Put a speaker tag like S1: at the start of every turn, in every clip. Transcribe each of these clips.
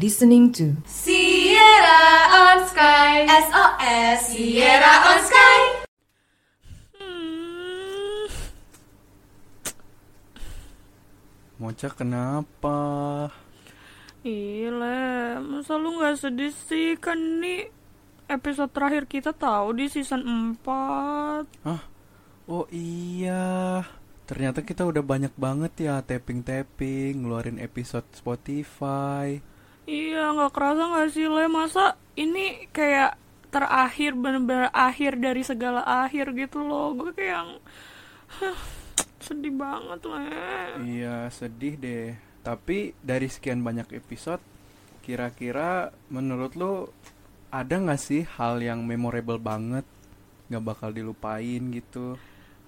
S1: listening to
S2: Sierra on Sky SOS Sierra on Sky
S3: Mocha kenapa?
S4: Ile, masa lu gak sedih sih? Kan ini episode terakhir kita tahu di season 4
S3: Hah? Oh iya. Ternyata kita udah banyak banget ya tapping-tapping, ngeluarin episode Spotify.
S4: Iya, gak kerasa gak sih, Le? Masa ini kayak terakhir, bener-bener akhir dari segala akhir gitu loh Gue kayak yang... Hah, sedih banget, Le
S3: Iya, sedih deh. Tapi dari sekian banyak episode, kira-kira menurut lu ada nggak sih hal yang memorable banget? Nggak bakal dilupain gitu.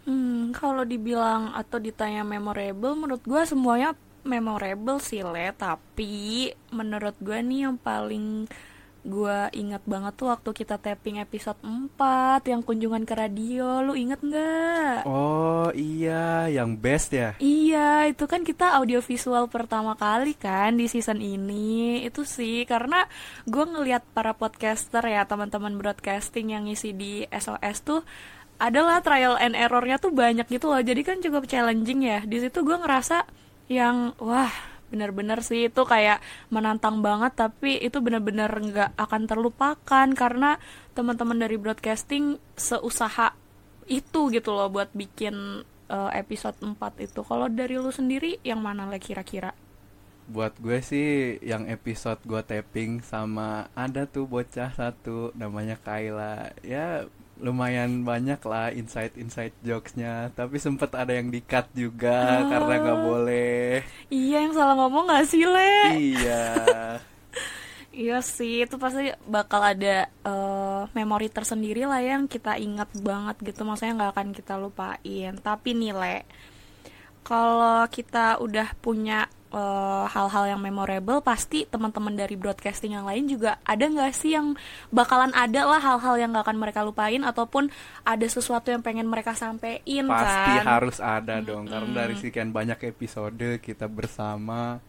S4: Hmm, kalau dibilang atau ditanya memorable, menurut gue semuanya memorable sih, Le. Tapi menurut gue nih yang paling gue ingat banget tuh waktu kita tapping episode 4 yang kunjungan ke radio. Lu inget nggak?
S3: Oh iya, yang best ya.
S4: Iya, itu kan kita audiovisual pertama kali kan di season ini. Itu sih karena gue ngelihat para podcaster ya, teman-teman broadcasting yang ngisi di SOS tuh adalah trial and errornya tuh banyak gitu loh. Jadi kan cukup challenging ya. Di situ gue ngerasa yang wah bener-bener sih itu kayak menantang banget tapi itu bener-bener nggak akan terlupakan karena teman-teman dari broadcasting seusaha itu gitu loh buat bikin eh, episode 4 itu. Kalau dari lu sendiri yang mana lah kira-kira?
S3: Buat gue sih yang episode gue tapping sama ada tuh bocah satu namanya Kayla Ya lumayan banyak lah insight-insight jokesnya Tapi sempet ada yang di-cut juga karena nggak boleh
S4: Iya yang salah ngomong gak sih Le?
S3: Iya
S4: Iya sih itu pasti bakal ada eh, memori tersendiri lah yang kita ingat banget gitu Maksudnya nggak akan kita lupain Tapi nih Le Kalau kita udah punya eh, hal-hal yang memorable Pasti teman-teman dari broadcasting yang lain juga ada nggak sih yang bakalan ada lah hal-hal yang nggak akan mereka lupain Ataupun ada sesuatu yang pengen mereka sampein
S3: Pasti
S4: kan
S3: harus ada dong Karena dari sekian banyak episode kita bersama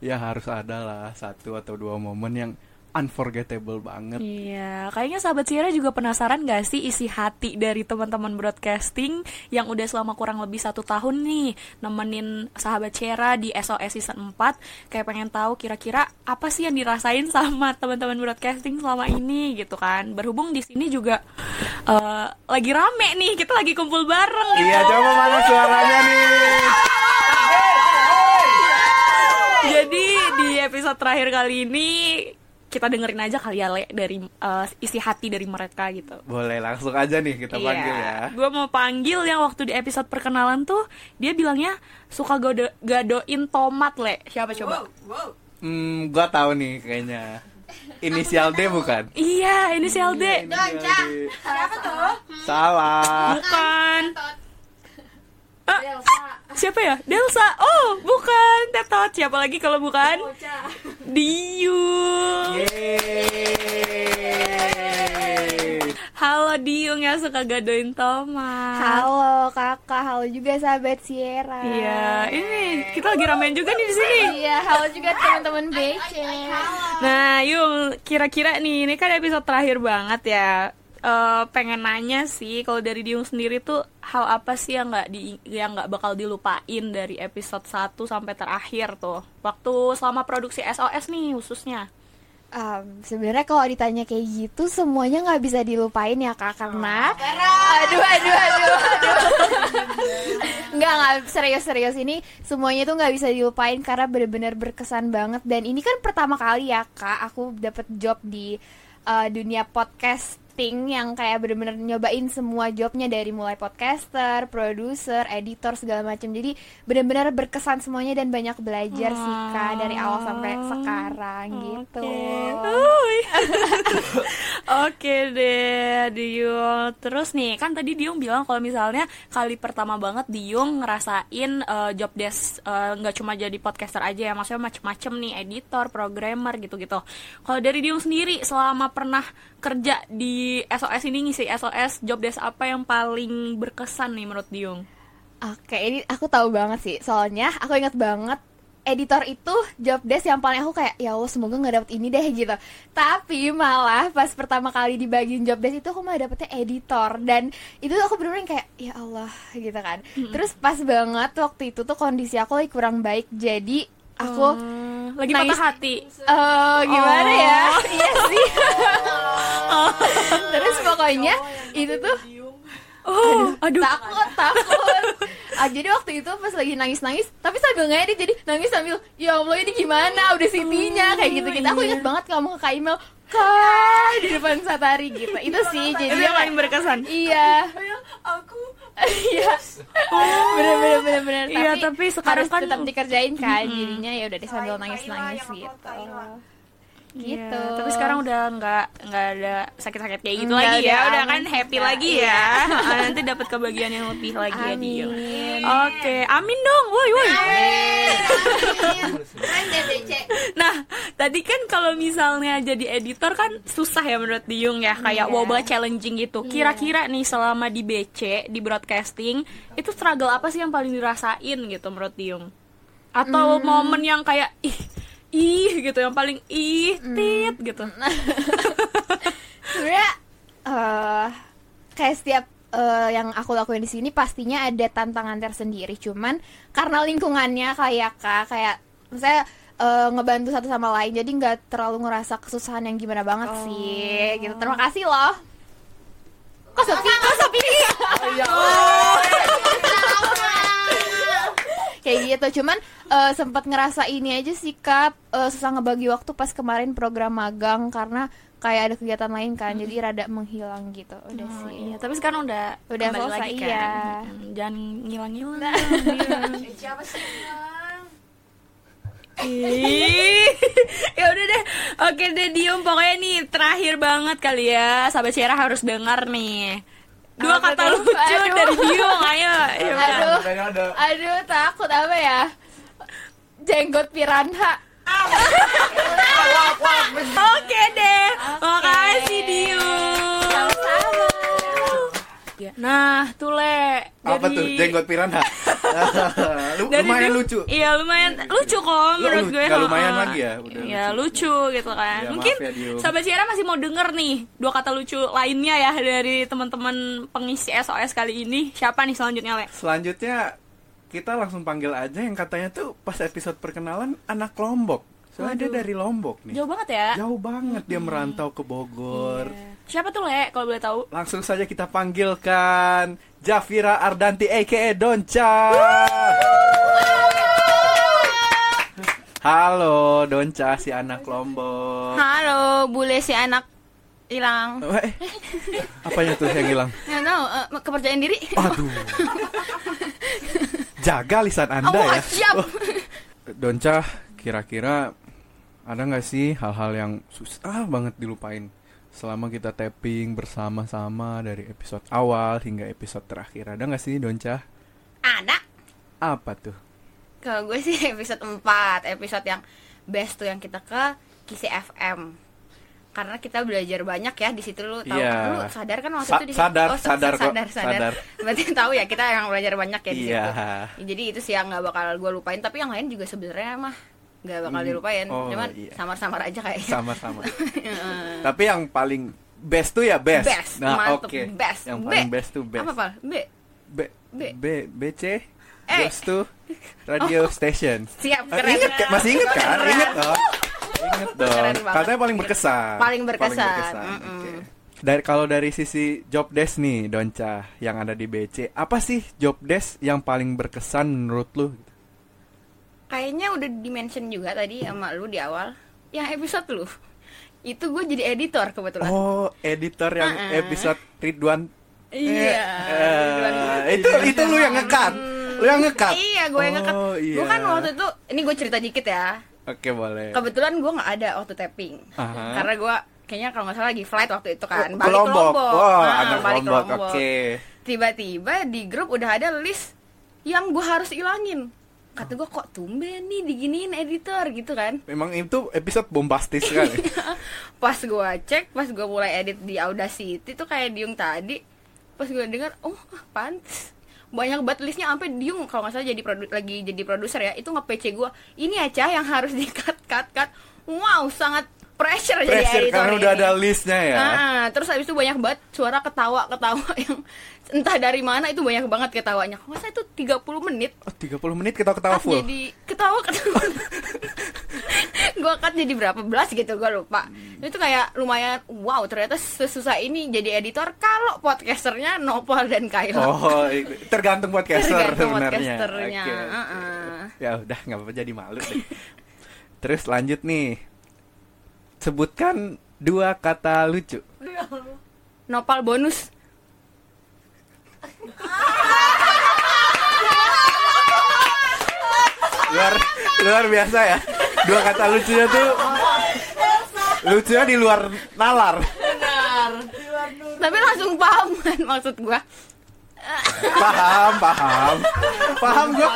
S3: Ya harus ada lah satu atau dua momen yang unforgettable banget
S4: Iya, kayaknya sahabat Sierra juga penasaran gak sih isi hati dari teman-teman broadcasting yang udah selama kurang lebih satu tahun nih nemenin sahabat Sierra di SOS season 4 kayak pengen tahu kira-kira apa sih yang dirasain sama teman-teman broadcasting selama ini gitu kan berhubung di sini juga eh, lagi rame nih kita lagi kumpul bareng gitu.
S3: Iya coba mana suaranya nih
S4: Jadi di episode terakhir kali ini kita dengerin aja kali ya Le dari eh, isi hati dari mereka gitu.
S3: Boleh langsung aja nih kita panggil ya
S4: Gue Iya. mau panggil yang waktu di episode perkenalan tuh dia bilangnya suka gado- gadoin tomat le. Siapa coba?
S3: Hmm, gua tahu nih kayaknya. Inisial D bukan?
S4: Iya, ini si LD.
S3: Inisial D. Salah.
S4: Bukan. Ah, siapa ya? Delsa. Oh, bukan. Tetot. Siapa lagi kalau bukan? Diung.
S3: Yeay.
S4: Halo Diung yang suka gadoin tomat.
S5: Halo kakak, halo juga sahabat Sierra.
S4: Iya, ini kita lagi ramen juga nih di sini.
S5: Iya, halo juga teman-teman BC.
S4: Nah, yuk kira-kira nih ini kan episode terakhir banget ya. Eh, pengen nanya sih kalau dari Diung sendiri tuh hal apa sih yang nggak di yang nggak bakal dilupain dari episode 1 sampai terakhir tuh waktu selama produksi SOS nih khususnya
S5: Um, Sebenarnya kalau ditanya kayak gitu semuanya nggak bisa dilupain ya kak karena aduh aduh aduh aduh nggak nggak serius serius ini semuanya tuh nggak bisa dilupain karena bener-bener berkesan banget dan ini kan pertama kali ya kak aku dapet job di uh, dunia podcasting yang kayak bener-bener nyobain semua jobnya dari mulai podcaster, produser, editor segala macam jadi bener-bener berkesan semuanya dan banyak belajar sih kak dari awal sampai sekarang gitu.
S4: Oke. Uy. Oke deh, Diung. Terus nih, kan tadi Diung bilang kalau misalnya kali pertama banget Diung ngerasain eh, job desk eh, nggak cuma jadi podcaster aja ya, maksudnya macem-macem nih, editor, programmer gitu-gitu. Kalau dari Diung sendiri selama pernah kerja di SOS ini ngisi SOS job desk apa yang paling berkesan nih menurut Diung?
S5: Oke, ini aku tahu banget sih. Soalnya aku ingat banget
S6: editor itu job desk yang paling aku kayak ya Allah semoga nggak dapet ini deh gitu tapi malah pas pertama kali dibagiin job desk itu aku malah dapetnya editor dan itu tuh aku bener-bener yang kayak ya Allah gitu kan terus pas banget waktu itu tuh kondisi aku lagi kurang baik jadi aku
S4: Hmm, lagi
S6: nangis-
S4: patah hati.
S6: eh gimana
S4: Oh.
S6: ya iya sih terus pokoknya itu tuh
S4: Oh, aduh.
S6: takut takut ah, jadi waktu itu pas lagi nangis nangis tapi sambil ngedit jadi nangis sambil ya allah ini gimana udah
S4: Oh,
S6: sitinya kayak gitu gitu
S4: iya.
S6: aku inget banget ngomong ke kak Imel kak di depan Satari gitu itu sih jadi
S4: Itu yang paling berkesan.
S6: iya
S7: aku
S6: iya bener bener bener bener
S4: Iya, tapi sekarang
S6: harus
S4: kan-
S6: tetap dikerjain kan jadinya ya udah deh sambil nangis nangis gitu gitu
S4: Iya, tapi sekarang udah nggak nggak ada sakit-sakit kayak gitu
S6: Nggak
S4: lagi ya.
S6: ada,
S4: Udah
S6: aman.
S4: kan
S6: Nggak,
S4: happy
S6: iya.
S4: lagi ya. Ah, Nanti dapat kebahagiaan yang lebih lagi ya Dio.
S6: Amin.
S4: Oke, amin dong. Woi woi.
S7: Main DBC
S4: Nah, tadi kan kalau misalnya jadi editor kan susah ya menurut Diung ya, kayak
S6: Iya.
S4: wabah challenging gitu. Kira-kira nih selama di BC, di broadcasting, itu struggle apa sih yang paling dirasain gitu menurut Diung? Atau
S6: Hmm.
S4: momen yang kayak ih ih gitu yang paling ih
S6: Hmm.
S4: tit gitu.
S6: sebenarnya eh kayak setiap eh, yang aku lakuin di sini pastinya ada tantangan tersendiri cuman karena lingkungannya kayak kak kayak saya ngebantu satu sama lain jadi nggak terlalu ngerasa kesusahan yang gimana banget sih gitu terima kasih loh kok sepi kok Oh, iya. sepi kayak gitu cuman eh, sempat ngerasa ini aja sih kak eh, susah ngebagi waktu pas kemarin program magang karena kayak ada kegiatan lain kan jadi rada menghilang gitu udah
S4: Oh,
S6: sih
S4: iya, tapi sekarang udah
S6: Udah
S4: kembali
S6: selesai,
S4: lagi kan.
S6: iya.
S4: Mm, Jangan ngilang-ngilang. Nah.
S7: Eh, siapa sih yang
S4: Ih, ya udah deh. Oke deh Dium, pokoknya nih terakhir banget kali ya. Sahabat Sierra harus dengar nih. Dua
S6: Apa
S4: kata
S6: tuh?
S4: lucu
S6: Aduh.
S4: dari Dium, ayo. Iya, ayo Kak.
S6: Aduh.
S3: Kayaknya ada
S6: aduh takut apa ya jenggot piranha
S4: Oke deh. Makasih Dium.
S6: sama
S4: Nah, tuh Le.
S3: apa
S4: Jadi-
S3: tuh jenggot piranha Lu,
S4: dari
S3: lumayan
S4: dulu-
S3: lucu Iya,
S4: Iya lumayan lucu kok menurut
S3: lu-
S4: gue.
S3: nggak lumayan
S4: ha-ha.
S3: lagi ya, udah
S4: Iya lucu. gitu kan.
S3: Ya, maaf
S4: Mungkin
S3: ya, Dio.
S4: sahabat Ciara masih mau denger nih dua kata lucu lainnya ya dari teman-teman pengisi SOS kali ini. Siapa nih selanjutnya Le?
S3: selanjutnya kita langsung panggil aja yang katanya tuh pas episode perkenalan anak Lombok soalnya dia dari Lombok nih
S4: Jauh banget ya.
S3: Jauh banget dia merantau ke Bogor
S4: Siapa tuh Le kalau boleh tahu?
S3: langsung saja kita panggilkan Jafira Ardanti aka Donca Halo Donca si anak Lombok
S1: Halo, bule si anak hilang.
S3: Weh, apanya tuh yang hilang
S1: Nggak tahu, eh, kepercayaan diri.
S3: Aduh. Jaga lisan Anda ya.
S1: Allah, siap.
S3: Wah. Donca, kira-kira ada nggak sih hal-hal yang susah banget dilupain selama kita tapping bersama-sama dari episode awal hingga episode terakhir? Ada nggak sih Donca?
S1: Ada.
S3: Apa tuh?
S1: Kalau gue sih episode 4, episode yang best tuh yang kita ke Kisi FM. Karena kita belajar banyak ya di situ lu tahu
S3: Iya.
S1: lu sadar kan waktu
S3: Sa-
S1: itu di
S3: sadar,
S1: sa-
S3: sadar kok,
S1: sadar, sadar.
S3: sadar.
S1: Berarti tahu ya kita yang belajar banyak ya di
S3: Iya.
S1: situ. Ya, Jadi itu sih yang nggak bakal gue lupain, tapi yang lain juga sebenarnya mah nggak bakal
S3: Hmm.
S1: dilupain.
S3: Oh,
S1: Cuman
S3: iya.
S1: samar-samar aja kayaknya.
S3: Sama-sama. Tapi yang paling best tuh ya best.
S1: Best,
S3: Nah,
S1: mantep,
S3: oke.
S1: best.
S3: Yang
S1: B.
S3: paling best tuh best.
S1: Apa, Pal? B.
S3: B B
S1: B.
S3: BC
S1: Eh. Oh.
S3: Best tuh radio station.
S1: Siap,
S3: Eh,
S1: keren.
S3: inget kan? Masih inget kan?
S1: Keren.
S3: Inget dong. Inget dong.
S1: Keren banget.
S3: Katanya paling berkesan.
S1: Paling berkesan, mm-mm.
S3: oke. Dari kalau dari sisi job desk nih, Donca yang ada di BC, apa sih job desk yang paling berkesan menurut lu?
S1: kayaknya udah dimention juga tadi sama lu di awal yang episode lu itu gue jadi editor kebetulan
S3: Oh, editor yang
S1: Mm-mm.
S3: episode Ridwan.
S1: iya kebetulan
S3: Eh,
S1: gua.
S3: itu itu lu yang ngekat. Lu yang ngekat.
S1: iya gue yang ngekat
S3: Oh, iya.
S1: gue kan waktu itu ini gue cerita dikit ya
S3: Oke, boleh.
S1: kebetulan gue nggak ada waktu tapping
S3: Aha.
S1: karena gue kayaknya kalau nggak salah lagi flight waktu itu kan
S3: Oh,
S1: balik
S3: Lombok.
S1: Lombok,
S3: Wah,
S1: Nah,
S3: anak
S1: balik
S3: Lombok. Oke.
S1: Lombok. tiba-tiba di grup udah ada list yang gue harus ilangin kata gue kok tumben nih diginiin editor gitu kan
S3: Memang itu episode bombastis kan.
S1: Iya, pas gua cek pas gua mulai edit di Audacity tuh kayak Diung tadi pas gua dengar oh pantes banyak banget listnya sampai diung kalau nggak salah jadi produ- lagi jadi produser ya itu nge-PC gue ini aja yang harus di cut cut cut wow sangat pressure,
S3: Pressure
S1: jadi editor
S3: karena udah
S1: ini.
S3: ada listnya ya.
S1: Nah, terus habis itu banyak banget suara ketawa-ketawa yang entah dari mana itu banyak banget ketawanya. Masa itu 30 menit
S3: Oh, 30 menit kita ketawa
S1: pas
S3: full.
S1: Ah, jadi ketawa-ketawa. gua kan jadi berapa belas gitu gua lupa.
S3: Hmm.
S1: Itu kayak lumayan wow, ternyata sesusah ini jadi editor kalau podcasternya Nopal dan Kayla.
S3: Oh, i- tergantung podcaster
S1: Tergantung
S3: sebenarnya.
S1: podcasternya. Ah,
S3: Oke.
S1: Heeh.
S3: Ya udah nggak apa-apa jadi malu deh. Terus lanjut nih. Sebutkan dua kata lucu.
S1: Nopal bonus.
S3: Luar luar biasa ya. Dua kata lucunya tuh
S1: Oh,
S3: lucunya di luar nalar.
S1: Tapi langsung paham kan maksud gua.
S3: paham paham paham gue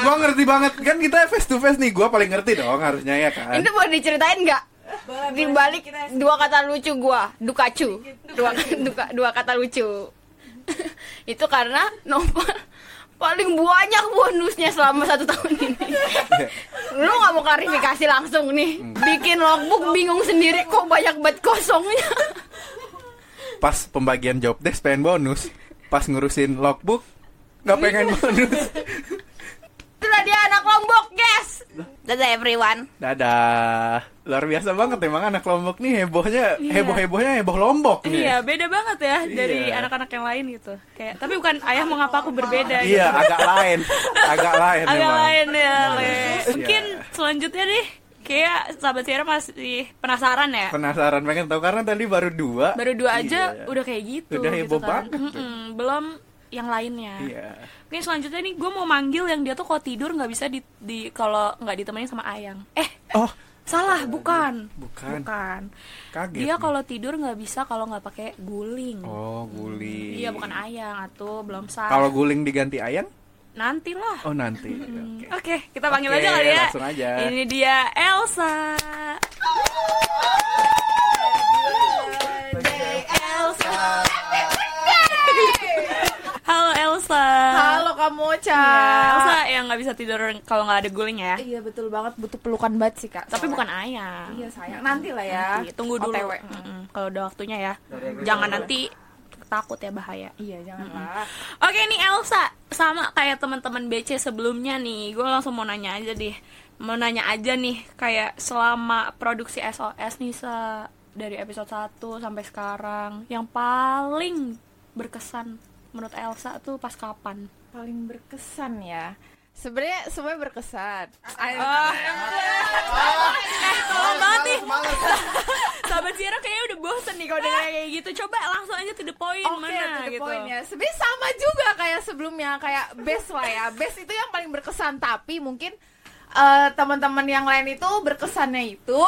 S3: gue ngerti banget kan kita face to face nih gue paling ngerti dong harusnya ya kan
S1: Itu boleh diceritain nggak?
S2: Boleh,
S1: di
S2: boleh.
S1: balik
S2: Kita
S1: dua kata lucu gua dukacu dua duka, dua kata lucu itu karena Nopal paling banyak bonusnya selama satu tahun ini lu nggak mau klarifikasi langsung nih bikin logbook bingung sendiri kok banyak banget kosongnya
S3: pas pembagian job desk pengen bonus pas ngurusin logbook nggak pengen
S4: Iya.
S3: bonus
S1: itulah dia anak lombok guys that's everyone
S3: dadah luar biasa banget emang anak lombok nih hebohnya
S4: Iya.
S3: heboh hebohnya heboh lombok nih
S4: Iya, beda banget ya dari
S3: Iya.
S4: anak-anak yang lain gitu. Kayak tapi bukan ayah mengapa aku
S3: iya
S4: berbeda. gitu.
S3: agak lain agak lain
S4: Agak
S3: emang.
S4: lain ya, Le.
S3: Iya.
S4: Mungkin selanjutnya deh kayak sahabat Sierra masih penasaran ya.
S3: penasaran pengen tahu karena tadi baru dua
S4: Baru dua aja
S3: Iya.
S4: udah kayak gitu.
S3: Udah
S4: gitu
S3: heboh banget tuh.
S4: Mm-mm, belum yang lainnya.
S3: iya
S4: Oke selanjutnya nih gue mau manggil yang dia tuh kalau tidur nggak bisa di, di kalau nggak ditemenin sama Ayang. Eh
S3: oh
S4: salah bukan.
S3: bukan.
S4: Bukan.
S3: kaget
S4: Dia
S3: nih.
S4: Iya, kalau tidur nggak bisa kalau nggak pakai guling.
S3: oh guling
S4: Iya bukan Ayang atau belum sah.
S3: kalau guling diganti ayang
S4: Nantilah.
S3: Oh nanti.
S4: Hmm,
S3: Oke.
S4: Oke, kita panggil
S3: Oke,
S4: aja kali ya.
S3: langsung aja.
S4: Ini dia Elsa. Halo Elsa. Iya,
S5: Halo kamu Ocha.
S4: Elsa yang nggak bisa tidur kalau nggak ada guling ya.
S5: Iya betul banget butuh pelukan banget sih kak. Soalnya.
S4: Tapi bukan ayang.
S5: Iya sayang. Nanti lah ya.
S4: Nanti, Tunggu dulu.
S5: OTW.
S4: Mm-mm, Kalau udah waktunya ya. Jangan nanti takut ya bahaya.
S5: Iya jangan lah.
S4: Oke nih Elsa sama kayak teman-teman BC sebelumnya nih. Gue langsung mau nanya aja deh. Mau nanya aja nih kayak selama produksi SOS nih Sa, dari episode 1 sampai sekarang yang paling berkesan menurut Elsa tuh pas kapan?
S5: Paling berkesan ya. Sebenarnya semuanya berkesan.
S2: Ah,
S4: Tolong banget nih. Sahabat Sierra kayaknya udah bosen nih kalau dengar kayak gitu. Coba langsung aja to the point
S5: Oke,
S4: mana
S5: to the
S4: gitu.
S5: point ya. Sebenarnya sama juga kayak sebelumnya kayak best lah ya. Best itu yang paling berkesan tapi mungkin eh, teman-teman yang lain itu berkesannya itu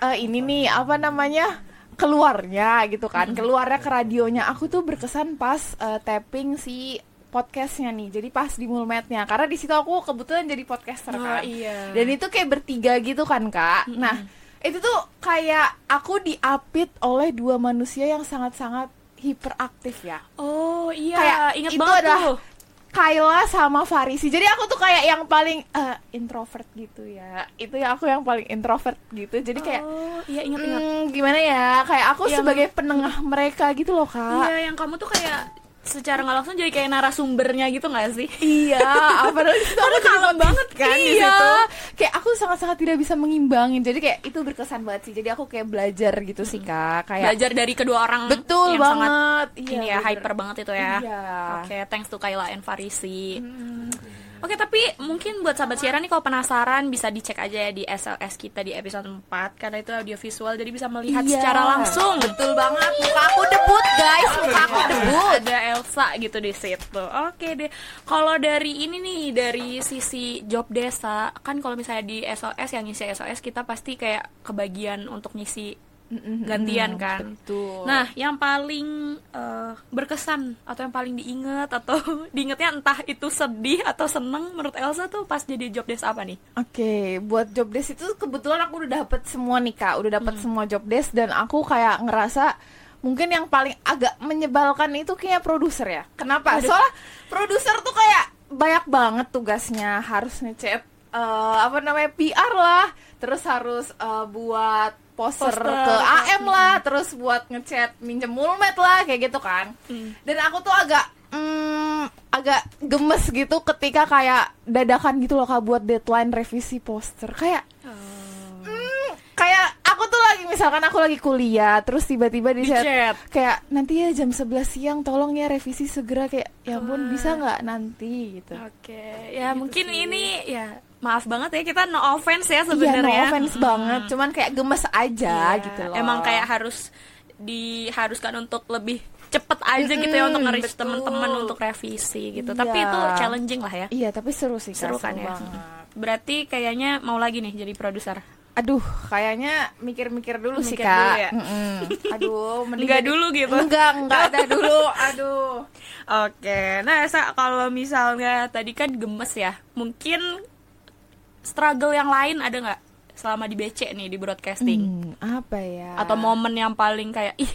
S5: eh, ini nih apa namanya keluarnya gitu kan keluarnya ke radionya aku tuh berkesan pas eh, tapping si podcastnya nih jadi pas di mulmetnya karena di situ aku kebetulan jadi podcaster
S4: Oh,
S5: kan
S4: iya.
S5: dan itu kayak bertiga gitu kan kak nah itu tuh kayak aku diapit oleh dua manusia yang sangat-sangat hiperaktif ya
S4: Oh iya,
S5: Kayak
S4: ingat
S5: itu
S4: banget
S5: adalah-
S4: tuh.
S5: Kayla sama Farisi jadi aku tuh kayak yang paling eh, introvert gitu ya itu ya aku yang paling introvert gitu jadi kayak
S4: Oh, iya ingat-ingat.
S5: "Hmm, gimana ya kayak aku
S4: Yang-
S5: sebagai penengah mereka gitu loh kak
S4: Iya, yang kamu tuh kayak secara nggak langsung jadi kayak narasumbernya gitu nggak sih?
S5: Iya, apalagi itu aku kalem banget kan
S4: di
S5: iya.
S4: situ.
S5: Kayak aku sangat-sangat tidak bisa mengimbangin. Jadi kayak itu berkesan banget sih. Jadi aku kayak belajar gitu sih, Kak. Kayak
S4: Hmm. Belajar dari kedua orang
S5: betul
S4: yang
S5: banget.
S4: sangat
S5: Iya,
S4: ini ya
S5: bener.
S4: hyper banget itu ya.
S5: Iya. Mm-hmm.
S4: Oke, thanks to Kayla and Farisi. Oke, tapi mungkin buat sahabat siaran nih kalau penasaran bisa dicek aja ya di SLS kita di episode 4 karena itu audio visual jadi bisa melihat
S5: Iya.
S4: secara langsung.
S5: Betul banget. Muka aku debut, guys. Muka aku debut.
S4: Ada Elsa gitu di situ. Oke deh. Kalau dari ini nih dari sisi job desa, kan kalau misalnya di SOS yang ngisi SOS kita pasti kayak kebagian untuk ngisi gantian kan.
S5: Mm-hmm. Betul.
S4: Nah, yang paling eh, berkesan atau yang paling diinget atau diingetnya entah itu sedih atau seneng menurut Elsa tuh pas jadi job desk apa nih?
S5: Oke, buat job desk itu kebetulan aku udah dapet semua nih kak, udah dapet semua job desk dan aku kayak ngerasa mungkin yang paling agak menyebalkan itu kayak produser ya. Kenapa? Soalnya produser tuh kayak banyak banget tugasnya, harus ngechat eh, apa namanya PR lah, terus harus eh, buat poster,
S4: Poster.
S5: ke AM lah, terus buat ngechat minjem mulmet lah kayak gitu kan.
S4: Hmm.
S5: Dan aku tuh agak mm, agak gemes gitu ketika kayak dadakan gitu loh kak buat deadline revisi poster kayak
S4: Oh.
S5: mm, kayak aku tuh lagi misalkan aku lagi kuliah terus tiba-tiba di chat,
S4: Di-chat.
S5: kayak nanti ya jam 11 siang tolong ya revisi segera kayak ya
S4: Ah.
S5: ampun bisa nggak nanti gitu
S4: Oke, ya mungkin ini ya maaf banget ya kita no offense ya
S5: Iya
S4: sebenarnya. Hmm.
S5: no offense banget cuman kayak gemes aja
S4: Iya,
S5: gitu loh
S4: Emang kayak harus diharuskan untuk lebih cepet aja gitu ya untuk nge-reach teman-teman untuk revisi gitu. Tapi
S5: Iya.
S4: itu challenging lah ya.
S5: iya tapi seru sih Kak,
S4: Seru kan ya.
S5: banget.
S4: Berarti kayaknya mau lagi nih jadi produser.
S5: Aduh, kayaknya mikir-mikir dulu sih,
S4: Mikir
S5: Kak.
S4: dulu ya?
S5: Mm-mm. Aduh, mending
S4: Enggak
S5: jadi-
S4: dulu gitu.
S5: Enggak, enggak ada dulu. Aduh.
S4: Oke, nah Esa, kalau misalnya tadi kan gemes ya, mungkin struggle yang lain ada nggak selama di BC nih di broadcasting?
S5: Hmm, apa ya?
S4: Atau momen yang paling kayak ih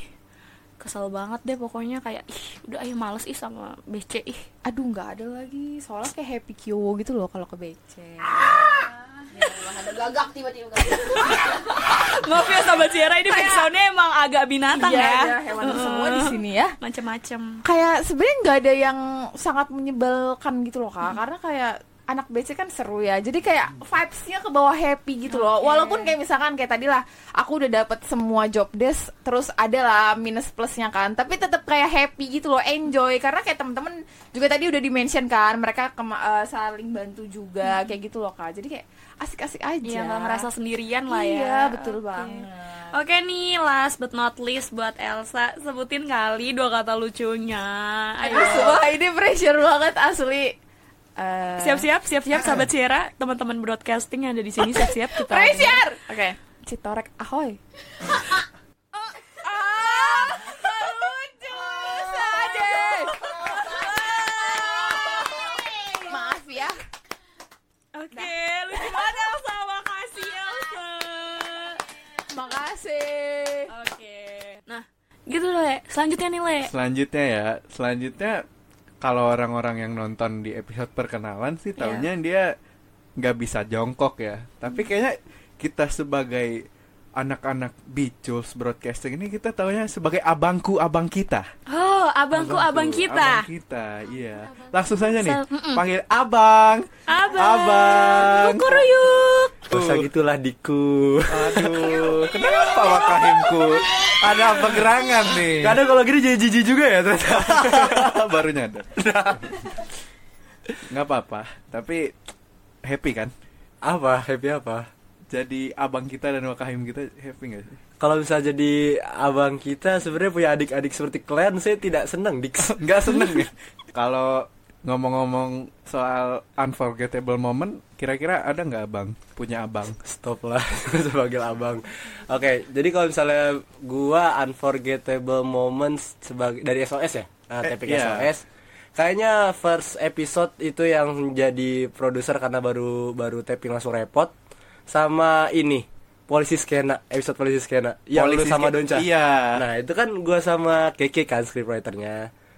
S4: kesel banget deh pokoknya kayak ih udah ayo males ih sama BC ih
S5: aduh, enggak ada lagi. Soalnya kayak happy kyo gitu loh kalau ke BC.
S2: Ada gagak tiba-tiba.
S4: Maaf ya Sobat Sierra ini backsoundnya emang agak binatang
S5: Iya,
S4: ya
S5: iya, hewan semua di sini ya.
S4: Macem-macem
S5: Kayak sebenarnya nggak ada yang sangat menyebalkan gitu loh, Kak.
S4: Hmm.
S5: Karena kayak anak BC kan seru ya. Jadi kayak vibes-nya ke bawah happy gitu loh. Walaupun kayak misalkan kayak tadi lah, aku udah dapat semua job desk, terus ada lah minus plusnya kan. Tapi tetap kayak happy gitu loh, enjoy. Karena kayak temen-temen juga tadi udah di-mention kan, mereka kema- eh, saling bantu juga kayak gitu loh, Kak. Jadi kayak asik-asik aja.
S4: Hmm. Iya nggak ngerasa sendirian lah ya
S5: Iya, betul
S4: Oke.
S5: banget.
S4: Oke nih, last but not least buat Elsa Sebutin kali dua kata lucunya Ayo
S5: Terus wah ini pressure banget asli. Eh,
S4: Siap-siap, siap-siap Sobat Sierra Teman-teman broadcasting yang ada di sini siap-siap kita
S5: Pressure!
S4: Oke
S5: Citorek ahoy. Maaf ya.
S4: Oke, lucu banget Elsa, makasih ya Elsa
S5: Makasih.
S4: Oke. Nah, gitu Le. Selanjutnya nih Le.
S3: Selanjutnya ya, selanjutnya kalau orang-orang yang nonton di episode perkenalan sih
S4: Iya.
S3: taunya dia nggak bisa jongkok ya. Tapi kayaknya kita sebagai anak-anak Biculs Broadcasting ini kita taunya sebagai abangku-abang kita.
S4: Oh, abangku abang,
S3: Abangku,
S4: kita.
S3: Abang kita, iya. Langsung saja nih,
S4: Sel- mm-mm.
S3: panggil abang.
S4: Abang.
S3: Abang.
S4: Kukuruyuk.
S8: Gak usah gitulah diku
S3: Aduh, kenapa Wakahimku? Ada pergerangan nih.
S8: Kadang kalau gini jadi jijik juga ya ternyata
S3: baru nyadar nggak apa-apa tapi happy kan
S8: Apa? Happy apa?
S3: jadi abang kita dan wakahim kita happy nggak sih
S8: Kalau bisa jadi abang kita sebenarnya punya adik-adik seperti kalian saya tidak seneng dik
S3: nggak seneng ya kalau ngomong-ngomong soal unforgettable moment kira-kira ada nggak abang punya abang
S8: Stop lah sebagai abang Oke jadi kalau misalnya gua unforgettable moments sebagai dari SOS ya nah,
S3: Eh,
S8: topik
S3: iya.
S8: SOS Kayaknya first episode itu yang jadi produser karena baru baru taping langsung repot sama ini polisi skena episode polisi skena yang lu
S3: Polisi
S8: sama
S3: Ske-
S8: Donca
S3: iya.
S8: nah itu kan gua sama Keke kan scriptwriternya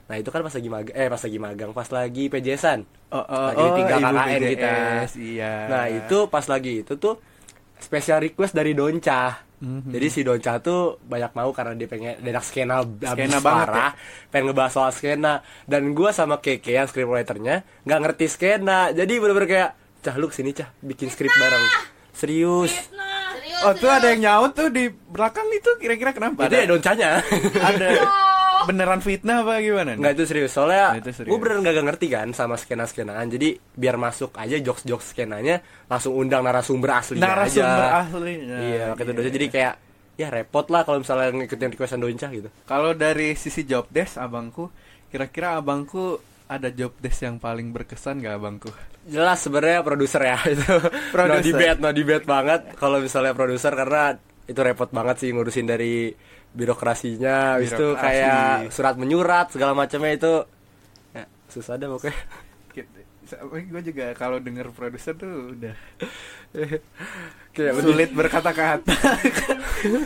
S8: nah itu kan pas lagi magang eh pas lagi magang pas lagi PJSan
S3: Oh, oh,
S8: lagi
S3: oh,
S8: tinggal
S3: Ibu
S8: KKN kita
S3: PJS, iya.
S8: nah itu pas lagi itu tuh special request dari Donca
S3: Mhm.
S8: jadi si Donca tuh banyak mau karena dia pengen dia anak skena abis
S3: Skena banget ya.
S8: parah pengen ngebahas soal skena dan gua sama Keke yang scriptwriternya nggak ngerti skena jadi bener-bener kayak cah lu kesini cah bikin skrip bareng serius
S3: oh tuh ada yang nyaut tuh di belakang itu kira-kira kenapa
S8: itu ya
S3: ada,
S8: Doncanya
S3: ada beneran fitnah apa gimana nih?
S8: Nggak itu serius Soalnya
S3: Nah, itu serius.
S8: gue bener nggak ngerti kan Sama skena-skenaan Jadi biar masuk aja jokes-jokes skenanya Langsung undang narasumber aslinya
S3: narasumber Nah,
S8: aja
S3: aslinya
S8: Iya waktu itu Donca. Jadi kayak Ya repot lah kalau misalnya ngikutin requestan Donca gitu
S3: Kalau dari sisi job desk abangku, kira-kira abangku ada job desk yang paling berkesan gak abangku?
S8: Jelas sebenarnya produser ya itu No
S3: Produser.
S8: debate, no debate banget Kalau misalnya produser karena itu repot banget sih ngurusin dari birokrasinya Habis itu
S3: Birokrasi.
S8: kayak surat menyurat segala macamnya itu ya, Susah deh pokoknya
S3: Ki- Tapi gue juga kalau denger produser tuh udah
S8: kayak sulit
S3: sulit berkata-kata.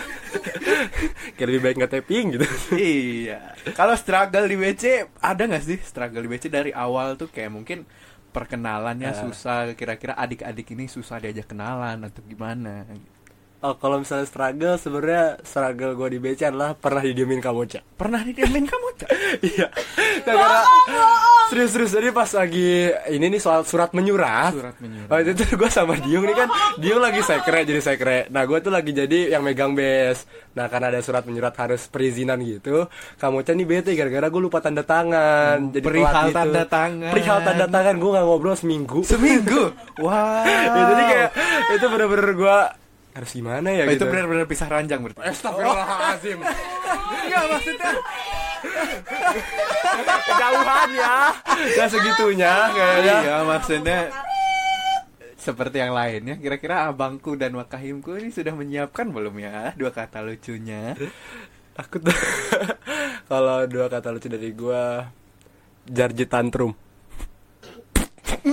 S8: kayak lebih baik nggak tapping gitu
S3: iya. Kalau struggle di BC ada nggak sih struggle di BC dari awal tuh kayak mungkin perkenalannya
S8: Eh.
S3: susah. Kira-kira adik-adik ini susah diajak kenalan atau gimana?
S8: oh kalau misalnya struggle sebenarnya struggle gue di BC adalah pernah didiemin kak bocah
S3: Pernah didemin kamu? Cak?
S8: iya karena serius serius jadi pas lagi ini nih soal surat menyurat
S3: Surat menyurat.
S8: oh, itu gue sama Diung nih kan Diung lagi sekre jadi sekre nah gue tuh lagi jadi yang megang bes nah karena ada surat menyurat harus perizinan gitu kamu nih bete gara-gara gue lupa tanda tangan jadi
S3: Hmm, perihal
S8: telat gitu.
S3: tanda tangan.
S8: perihal tanda tangan gue nggak ngobrol seminggu
S3: Seminggu. Wah.
S8: ya, jadi kayak itu bener-bener gue harus gimana ya
S3: Oh, itu
S8: gitu
S3: benar-benar pisah ranjang berarti.
S8: Astagfirullahaladzim Eh, iya,
S3: Enggak maksudnya.
S8: Jauhan ya Ya segitunya kayaknya
S3: Iya maksudnya seperti yang lainnya kira-kira abangku dan wakahimku ini sudah menyiapkan belum ya dua kata lucunya
S8: Aku tuh kalau dua kata lucu dari gua Jarji tantrum.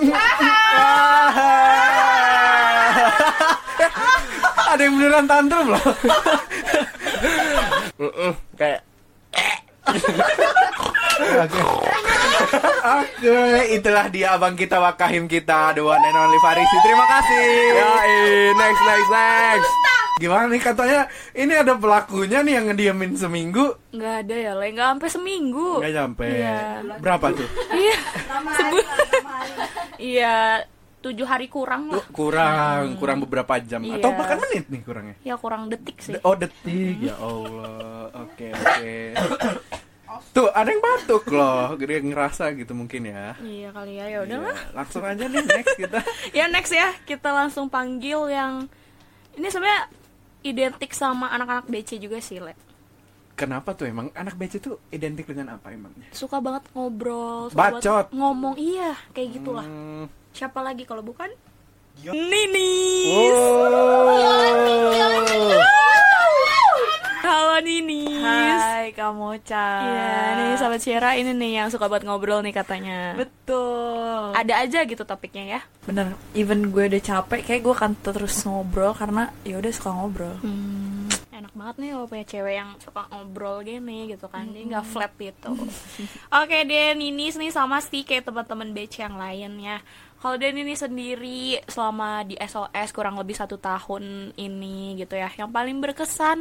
S3: Ah. ada yang beneran tantrum loh
S8: Mm-mm, kayak
S3: oke itulah dia abang kita wakahim kita the one and only Farisi terima kasih
S8: yoi, next next next.
S3: gimana nih katanya ini ada pelakunya nih yang ngediemin seminggu
S4: nggak ada ya Le nggak sampai seminggu
S3: nggak nyampe
S4: Iya.
S3: berapa tuh
S4: iya iya tujuh hari kurang lah
S3: kurang kurang beberapa jam
S4: Iya.
S3: atau bahkan menit nih kurangnya
S4: ya kurang detik sih
S3: De- Oh detik ya Allah. Oke oke. Tuh ada yang batuk loh. Dia ngerasa gitu mungkin ya.
S4: iya kali ya ya udahlah
S3: Iya, Langsung aja nih next gitu. kita.
S4: ya next ya kita langsung panggil yang ini sebenarnya identik sama anak-anak BC juga sih Le
S3: Kenapa tuh emang anak BC tuh identik dengan apa emangnya?
S4: suka banget ngobrol suka banget
S3: Bacot.
S4: ngomong iya kayak gitulah
S3: Hmm.
S4: siapa lagi kalau bukan Ninis
S3: Oh.
S4: halo Ninis
S2: Hai kamu Ocha
S4: Iya, nih sahabat Sierra ini nih yang suka buat ngobrol nih katanya.
S2: Betul
S4: Ada aja gitu topiknya ya.
S2: Bener, even gue udah capek Kayak gue akan terus ngobrol Karena ya udah suka ngobrol
S4: Enak banget nih kalau punya cewek yang suka ngobrol gini gitu kan. Dia nggak flat gitu. Oke, Den Ninis nih sama sih kayak teman-teman BC yang lainnya. Kalau Den ini sendiri selama di SOS kurang lebih satu tahun ini gitu ya. Yang paling berkesan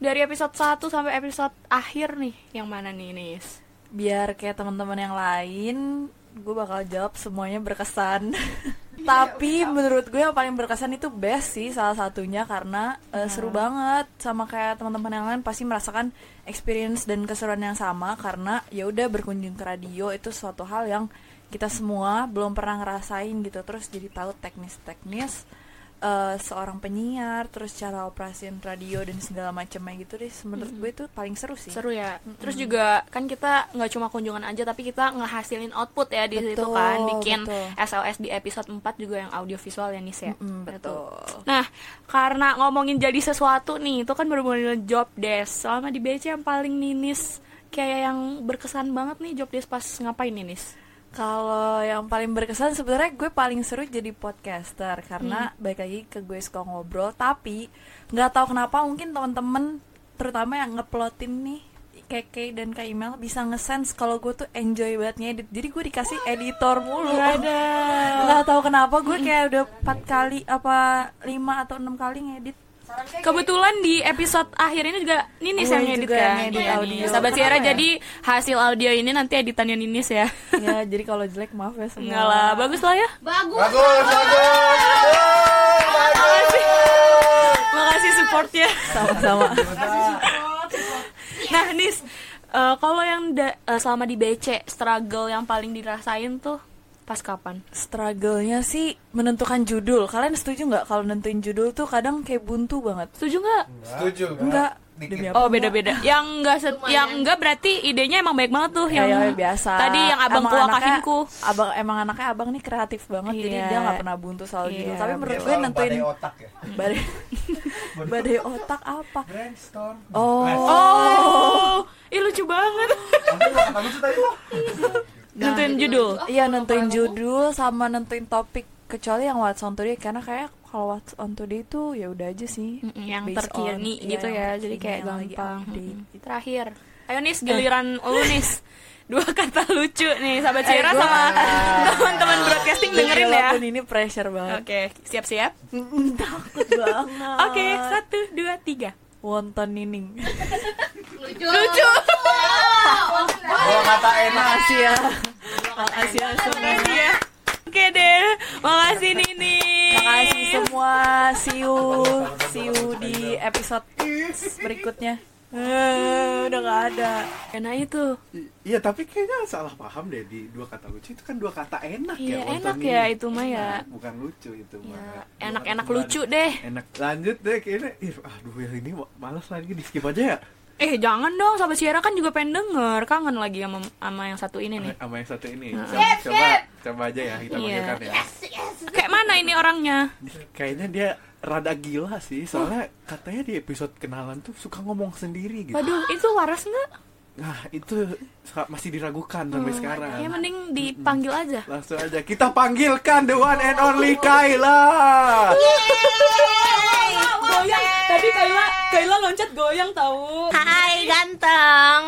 S4: dari episode 1 sampai episode akhir nih. Yang mana nih, Nis?
S2: Biar kayak teman-teman yang lain Gue bakal jawab semuanya berkesan Tapi menurut gue yang paling berkesan itu best sih Salah satunya karena eh, seru banget Sama kayak teman-teman yang lain pasti merasakan Experience dan keseruan yang sama Karena ya udah berkunjung ke radio Itu suatu hal yang kita semua belum pernah ngerasain gitu Terus jadi tahu teknis-teknis eh, seorang penyiar terus cara operasiin radio dan segala macamnya gitu deh menurut gue itu paling seru sih
S4: seru ya terus juga kan kita nggak cuma kunjungan aja tapi kita ngehasilin output ya di situ
S2: Betul,
S4: kan bikin
S2: betul.
S4: SOS di episode 4 juga yang audiovisual ya Nis ya
S2: Mm-mm, betul
S4: nah karena ngomongin jadi sesuatu nih itu kan bener-bener job desk selama di BC yang paling Ninis kayak yang berkesan banget nih job desk pas ngapain Ninis
S2: Kalau yang paling berkesan sebenarnya gue paling seru jadi podcaster karena baik lagi ke gue suka ngobrol tapi nggak tahu kenapa mungkin teman-teman terutama yang ngeplotin nih Keke dan Kak Imel bisa ngesense kalau gue tuh enjoy banget ngedit jadi gue dikasih editor mulu nggak tahu kenapa gue kayak udah empat kali apa lima atau enam kali ngedit
S4: Kebetulan di episode akhir ini juga Ninis
S2: Gue
S4: yang ngedit
S2: Oh, juga
S4: kan.
S2: yang ngedit
S4: Iya,
S2: audio.
S4: Nis. Sahabat Sierra
S2: Kenapa ya?
S4: jadi hasil audio ini nanti editannya Ninis ya.
S2: ya jadi kalau jelek maaf ya semua
S4: Enggak lah, bagus lah ya.
S3: Bagus bagus.
S4: Makasih supportnya.
S2: sama-sama
S4: Nah, Nis, eh, kalau yang da- eh, selama di BC struggle yang paling dirasain tuh pas kapan?
S2: struggle-nya sih menentukan judul. Kalian setuju nggak kalau nentuin judul tuh kadang kayak buntu banget?
S4: Setuju nggak?
S3: Setuju.
S2: Enggak. Demi
S4: Oh
S2: apa?
S4: beda-beda. Yang enggak yang enggak berarti idenya emang baik banget tuh
S2: Ya,
S4: yang
S2: ya, biasa.
S4: Tadi yang abang
S2: Emang
S4: kuah
S2: anaknya-
S4: kahimku.
S2: Abang emang anaknya abang nih kreatif banget jadi
S4: Iya.
S2: dia nggak pernah buntu soal
S4: Iya,
S2: judul. Tapi menurut gue nentuin
S3: otak ya.
S2: badai, badai otak apa?
S3: Brainstorm.
S2: Oh.
S4: Oh, ih lucu banget.
S3: Aku tuh tadi
S4: Nentuin judul.
S2: Iya nentuin judul sama nentuin topik kecuali yang What's on Today karena kayak kalau What's on Today itu ya udah aja sih
S4: Mm-mm, yang
S2: Based
S4: terkini
S2: on, iya,
S4: gitu ya,
S2: yang
S4: jadi kayak
S2: terkini, yang lagi
S4: gampang.
S2: update.
S4: Mm-mm. Terakhir. Ayo nis giliran lu nis. Dua kata lucu nih sahabat Cira
S2: Eh, gua-
S4: sama teman-teman broadcasting dengerin
S2: Gila,
S4: ya.
S2: pun ini pressure banget
S4: Oke, siap-siap.
S2: takut banget
S4: Oke, satu, dua, tiga.
S2: wonton nining
S6: Lucu.
S8: Kalau kata enak
S2: makasih ya
S4: Makasih ya, makasih ya. Oke deh, makasih Nini.
S2: makasih semua see you see you di episode berikutnya Eh, udah gak ada
S4: Ya, Nah itu,
S3: I- Iya tapi kayaknya salah paham deh di dua kata lucu itu kan dua kata enak
S4: iya
S3: ya. wonton
S4: enak
S3: ini.
S4: ya itu mah ya.
S3: Bukan lucu itu
S4: Ya,
S3: mah. Dua
S4: enak-enak
S3: kata
S4: lucu deh.
S3: Enak. Lanjut deh kayaknya. Ih, aduh yang ini ma- malas lagi di skip aja ya.
S4: Eh jangan dong, sahabat Ciara kan juga pengen denger Kangen lagi sama, sama yang satu ini nih
S3: Sama yang satu ini. Coba, coba coba aja ya kita
S4: Iya.
S3: panggilkan ya.
S4: Kayak mana ini orangnya?
S3: Kayaknya dia rada gila sih soalnya katanya di episode kenalan tuh suka ngomong sendiri gitu.
S4: Waduh, itu waras nggak?
S3: Nah, itu sa- masih diragukan sampai
S9: Hmm.
S3: sekarang.
S4: Ya mending dipanggil aja
S3: Langsung aja kita panggilkan the one and only Kayla.
S4: Goyang, tadi Kaila, Kaila loncat goyang tahu.
S9: Hai ganteng.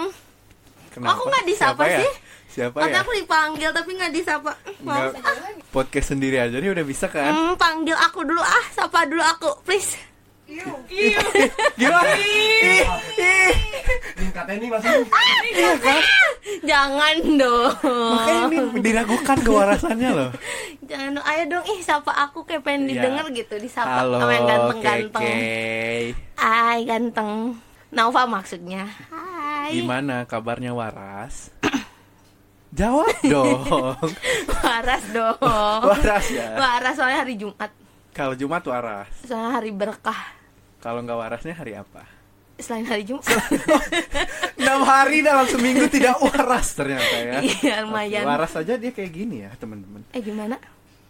S3: Kenapa?
S9: Aku nggak disapa
S3: Siapa ya?
S9: sih.
S3: Siapa
S9: Tapi
S3: ya?
S9: aku dipanggil tapi nggak disapa. Mau
S3: Nggak- podcast sendiri aja nih udah bisa kan?
S9: Hmm, panggil aku dulu ah, sapa dulu aku, please.
S3: Gila. Ih, ih.
S8: Katanya ini masih
S3: Iya kan?
S9: Jangan dong.
S3: Makanya ini
S9: Hmm.
S3: diragukan kewarasannya loh.
S9: Jangan dong. Ayo dong ih sapa aku kayak pengen
S3: Iya.
S9: didengar gitu, disapa
S3: Halo,
S9: sama yang ganteng-ganteng.
S3: Keke.
S9: Hai ganteng. Nova maksudnya. Hai.
S3: Gimana kabarnya Waras? Jawab dong.
S9: Waras dong.
S3: waras ya.
S9: Oh. Waras soalnya hari Jumat.
S3: Kalau Jumat waras.
S9: Soalnya hari berkah.
S3: Kalau nggak warasnya hari apa?
S9: Selain hari Jumat.
S3: Enam hari dalam seminggu tidak waras ternyata ya.
S9: Iya, lumayan.
S3: Oke, waras aja dia kayak gini ya teman-teman.
S9: Eh gimana?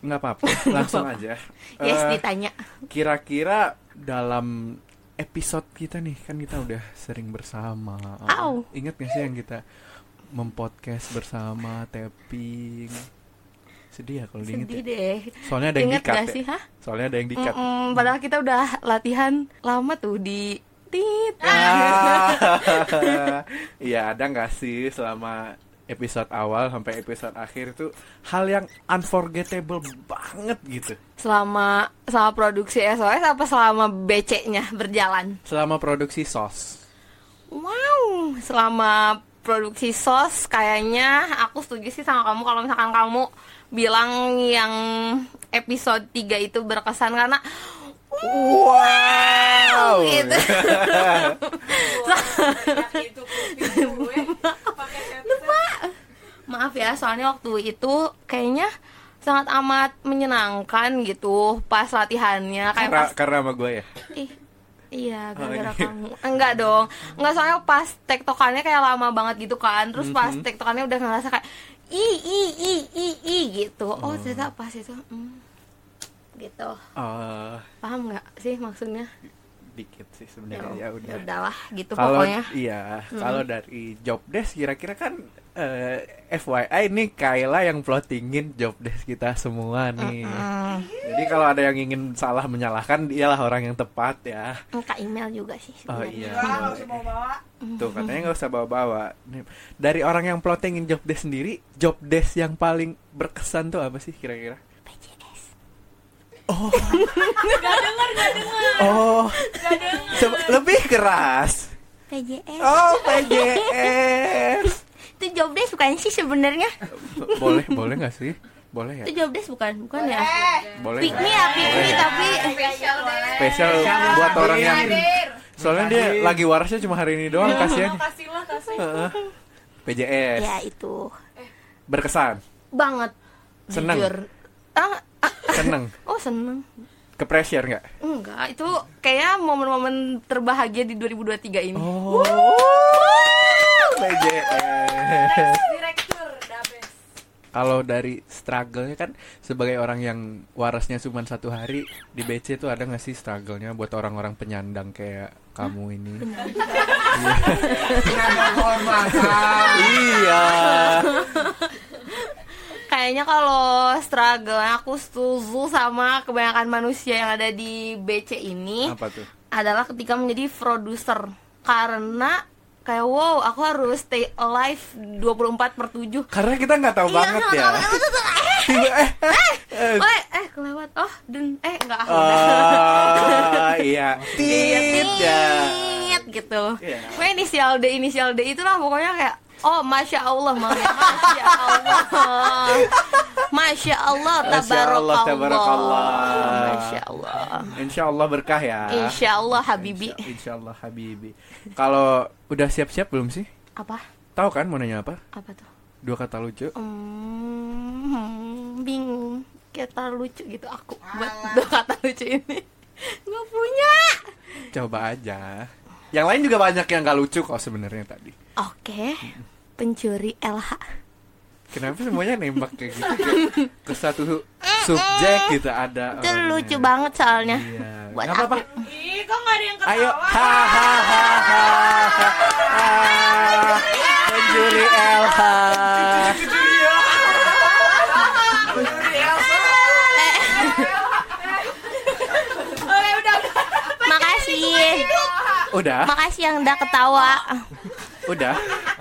S3: Nggak apa-apa. Langsung aja.
S9: Yes,
S3: Eh,
S9: ditanya.
S3: kira-kira dalam episode kita nih kan kita udah sering bersama
S9: Au.
S3: ingat gak sih yang kita mempodcast bersama tapping sedih ya kalau diinget
S9: Sedih
S3: ya?
S9: deh.
S3: soalnya ada yang
S9: Ingat
S3: dikat
S9: gak
S3: ya.
S9: sih, hah?
S3: soalnya ada yang dikat
S9: Mm-mm, Hmm, padahal kita udah latihan lama tuh di tit.
S3: Ah. Iya ada nggak sih selama episode awal sampai episode akhir tuh hal yang unforgettable banget gitu
S9: Selama selama produksi SOS apa selama BC-nya berjalan?
S3: selama produksi sos
S9: Wow, selama produksi sos kayaknya aku setuju sih sama kamu kalau misalkan kamu bilang yang episode 3 itu berkesan karena wow, gitu. Maaf ya, soalnya waktu itu kayaknya sangat amat menyenangkan gitu pas latihannya kayak
S3: karena
S9: pas
S3: karena sama gue ya
S9: Ih, iya
S3: Oh,
S9: gara-gara
S3: iya.
S9: kamu enggak dong enggak soalnya pas tektokannya kayak lama banget gitu kan terus pas
S3: Mhm.
S9: tektokannya udah ngerasa kayak i i i i i gitu oh ternyata pas itu hmm, gitu
S3: Eh,
S9: paham nggak sih maksudnya
S3: dikit sih sebenarnya ya
S9: ya
S3: udah
S9: udahlah gitu
S3: kalau
S9: pokoknya
S3: iya kalau dari job desk kira-kira kan eh, FYI nih Kayla yang plottingin job desk kita semua nih
S9: hmm,
S3: jadi kalau ada yang ingin salah menyalahkan dialah orang yang tepat ya
S9: enggak email juga sih
S3: oh
S9: sebenarnya.
S3: iya tuh katanya nggak usah bawa-bawa Nih, dari orang yang plottingin job desk sendiri job desk yang paling berkesan tuh apa sih kira-kira Oh, gak denger, gak denger. Oh, Seb- lebih keras.
S9: PJS
S3: Oh, PJS.
S9: itu job desk bukan sih sebenarnya
S3: boleh, boleh nggak sih? Boleh ya?
S9: itu job desk bukan bukan ya
S3: Boleh.
S9: pick me
S3: nggak?
S9: ya pick me
S3: Boleh.
S9: tapi
S3: Spesial buat orang yang soalnya dia lagi warasnya cuma hari ini doang, kasihan. Heeh. PJS
S9: ya itu
S3: berkesan,
S9: banget
S3: Seneng.
S9: jujur ah, ah,
S3: seneng,
S9: oh seneng
S3: ke pressure nggak?
S9: Enggak, itu kayaknya momen-momen terbahagia di 2023 ini.
S3: Oh, PJS. Kalau dari struggle-nya kan sebagai orang yang warasnya cuma satu hari di BC tuh ada nggak sih struggle-nya buat orang-orang penyandang kayak kamu ini?
S8: hormat.
S3: Iya.
S9: kayaknya kalau struggle aku setuju sama kebanyakan manusia yang ada di BC ini
S3: Apa tuh?
S9: adalah ketika menjadi produser karena kayak wow aku harus stay alive 24 per 7
S3: Karena kita nggak
S8: Iya,
S3: tahu banget ya. Tiba eh
S9: eh, eh kelewat oh dan eh enggak aku
S3: Ah, Oh, iya.
S9: Tit, gitu. Gue inisial D inisial D itulah pokoknya kayak oh masya Allah Mami. masya Allah masya
S3: Masya
S9: Allah
S3: Allah,
S9: tabarakallah
S3: tabarakallah.
S9: masya Allah
S3: Insya Allah berkah ya.
S9: insya Allah Habibi
S3: Insya- Insya Allah Habibi. Kalau udah siap-siap belum sih?
S9: apa
S3: Tahu kan mau nanya apa?
S9: apa tuh
S3: Dua kata lucu.
S9: hmm, bingung kata lucu gitu aku buat dua kata lucu ini nggak punya
S3: Coba aja. Yang lain juga banyak yang nggak lucu kok sebenarnya tadi.
S9: oke pencuri LH
S3: Kenapa semuanya nembak kayak gitu? Kayak Ke satu subjek gitu ada.
S9: itu
S3: orangnya.
S9: lucu banget soalnya
S3: Iya.
S9: buat
S3: Nggak apa-apa.
S9: aku
S5: Ih, kok gak ada yang ketawa?
S3: Ayo. Hahaha. Penjuri Elha.
S9: makasih
S3: Udah,
S9: Makasih yang udah ketawa.
S3: udah.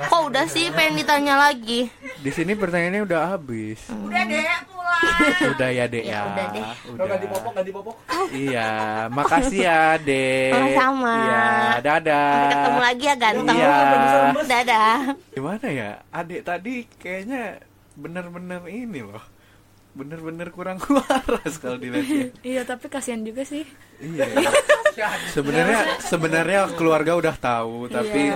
S9: Kok udah sih pengen ditanya lagi? Hmm.
S3: Di sini pertanyaannya udah habis.
S5: Udah deh, pulang.
S3: Udah ya, Dek ya.
S9: Ya, udah deh.
S10: Udah nggak dipopok, nggak dipopok.
S3: Iya, makasih ya, Dek.
S9: Sama-sama.
S3: Iya, dadah.
S9: Ketemu lagi ya ganteng.
S3: Iya.
S9: Dadah.
S3: Gimana ya? Adik tadi kayaknya bener-bener ini loh. Bener-bener kurang waras kalau dilihat.
S4: Iya, tapi kasihan juga sih.
S3: Iya. Sebenarnya sebenarnya keluarga udah tahu tapi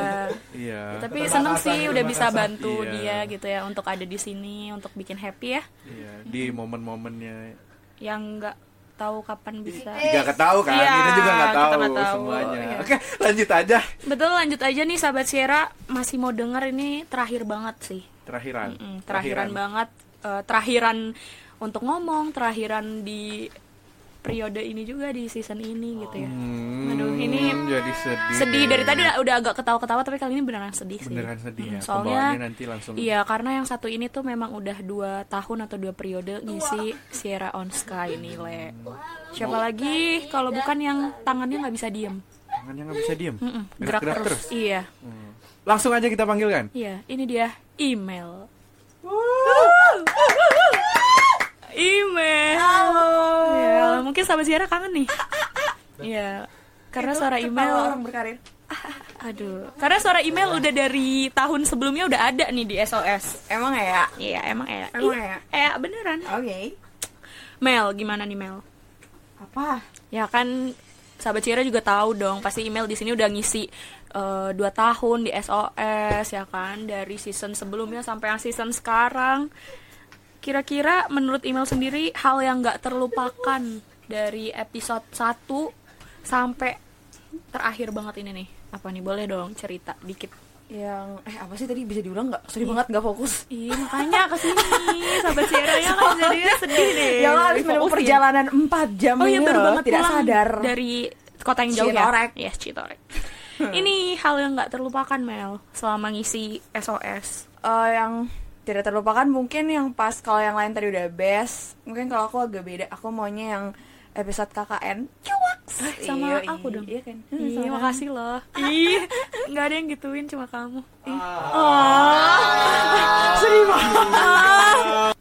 S3: iya.
S4: Ya, Tapi seneng sih udah bisa bantu
S3: Iya.
S4: dia gitu ya untuk ada di sini, untuk bikin happy ya.
S3: Iya, di momen-momennya
S4: Yang nggak tahu kapan bisa.
S3: nggak ketahu kan?
S4: Iya,
S3: kita juga nggak
S4: kita
S3: tahu,
S4: nggak tahu,
S3: semuanya.
S4: iya.
S3: Oke, lanjut aja.
S4: Betul, lanjut aja nih sahabat Sierra masih mau denger ini terakhir banget sih.
S3: Terakhiran.
S4: Mm, terakhiran banget, eh, terakhiran untuk ngomong, terakhiran di periode ini juga di season ini gitu ya.
S3: Hmm,
S4: Aduh, ini
S3: jadi sedih.
S4: Sedih
S3: deh.
S4: dari tadi udah, udah agak ketawa-ketawa tapi kali ini beneran sedih sih.
S3: beneran sedih ya.
S4: Mm, soalnya
S3: Pembawaannya nanti langsung
S4: Iya, karena yang satu ini tuh memang udah dua tahun atau dua periode ngisi Sierra on Sky ini, Le.
S3: Oh.
S4: Siapa lagi kalau bukan yang tangannya nggak bisa diem,
S3: tangannya nggak bisa diem.
S4: Mm-mm,
S3: Gerak,
S4: gerak,
S3: gerak
S4: terus.
S3: terus.
S4: Iya,
S3: Langsung aja kita panggilkan.
S4: iya, ini dia email. email. Ya, mungkin sahabat Sierra kangen nih. Iya, karena suara email.
S7: orang berkarir.
S4: Aduh, karena suara email udah dari tahun sebelumnya udah ada nih di SOS.
S7: Emang ya?
S4: Iya, emang ya.
S7: Emang ya?
S4: Eh, beneran.
S7: Oke.
S4: Mel, gimana nih Mel?
S7: Apa?
S4: Ya kan sahabat Cira juga tahu dong, pasti email di sini udah ngisi eh, dua tahun di SOS ya kan, dari season sebelumnya sampai yang season sekarang. Kira-kira menurut email sendiri hal yang nggak terlupakan dari episode 1 sampai terakhir banget ini nih. Apa nih boleh dong cerita dikit.
S7: Yang eh apa sih tadi bisa diulang nggak? Sedih banget nggak fokus.
S4: Ih, makanya kesini sahabat Cira ya kan jadi sedih deh.
S7: Ya lo harus menempuh
S4: Fokusin.
S7: perjalanan 4 jam
S4: Oh iya
S7: ini
S4: baru
S7: loh,
S4: banget
S7: tidak
S4: pulang
S7: sadar.
S4: dari kota yang jauh
S7: Citorek. Hmm.
S4: ya. Yes, Citorek. Ini hal yang nggak terlupakan Mel selama ngisi SOS.
S7: Eh, yang tidak terlupakan mungkin yang pas kalau yang lain tadi udah best. Mungkin kalau aku agak beda, aku maunya yang episode KKN. Cuak.
S4: Eh, sama aku dong.
S7: Iya kan. Hmm,
S4: Iya,
S7: sama.
S4: makasih loh. Ih, nggak ada yang gituin cuma kamu. Ih,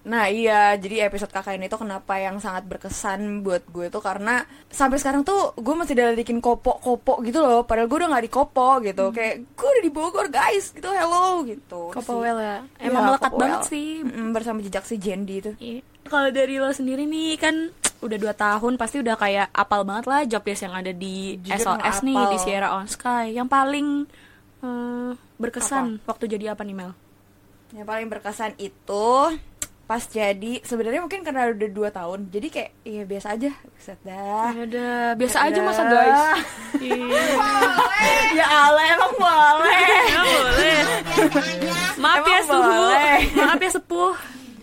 S7: Nah iya, jadi episode KKN itu kenapa yang sangat berkesan buat gue tuh karena sampai sekarang tuh gue masih diledekin kopo-kopo gitu loh. Padahal gue udah nggak di kopo gitu,
S4: Hmm.
S7: kayak gue udah di Bogor guys gitu, hello gitu.
S4: Kopowel ya.
S7: Iya,
S4: Emang melekat
S7: Kopowel.
S4: banget sih.
S7: Mm, bersama jejak si Jendi itu.
S4: Iya. Kalau dari lo sendiri nih kan udah dua tahun pasti udah kayak apal banget lah job desk yang ada di
S7: Jujur
S4: SOS nih
S7: ngapal.
S4: di Sierra on Sky. Yang paling eh, berkesan waktu jadi apa nih Mel?
S7: Yang paling berkesan itu pas jadi sebenarnya mungkin karena udah dua tahun jadi kayak iya biasa aja Buset dah
S4: Ya udah, Iya. biasa aja masa
S7: Udah.
S4: guys.
S7: ya Allah emang boleh
S4: Ya boleh. Maaf
S7: Emang
S4: ya suhu.
S7: boleh?
S4: Maaf ya sepuh.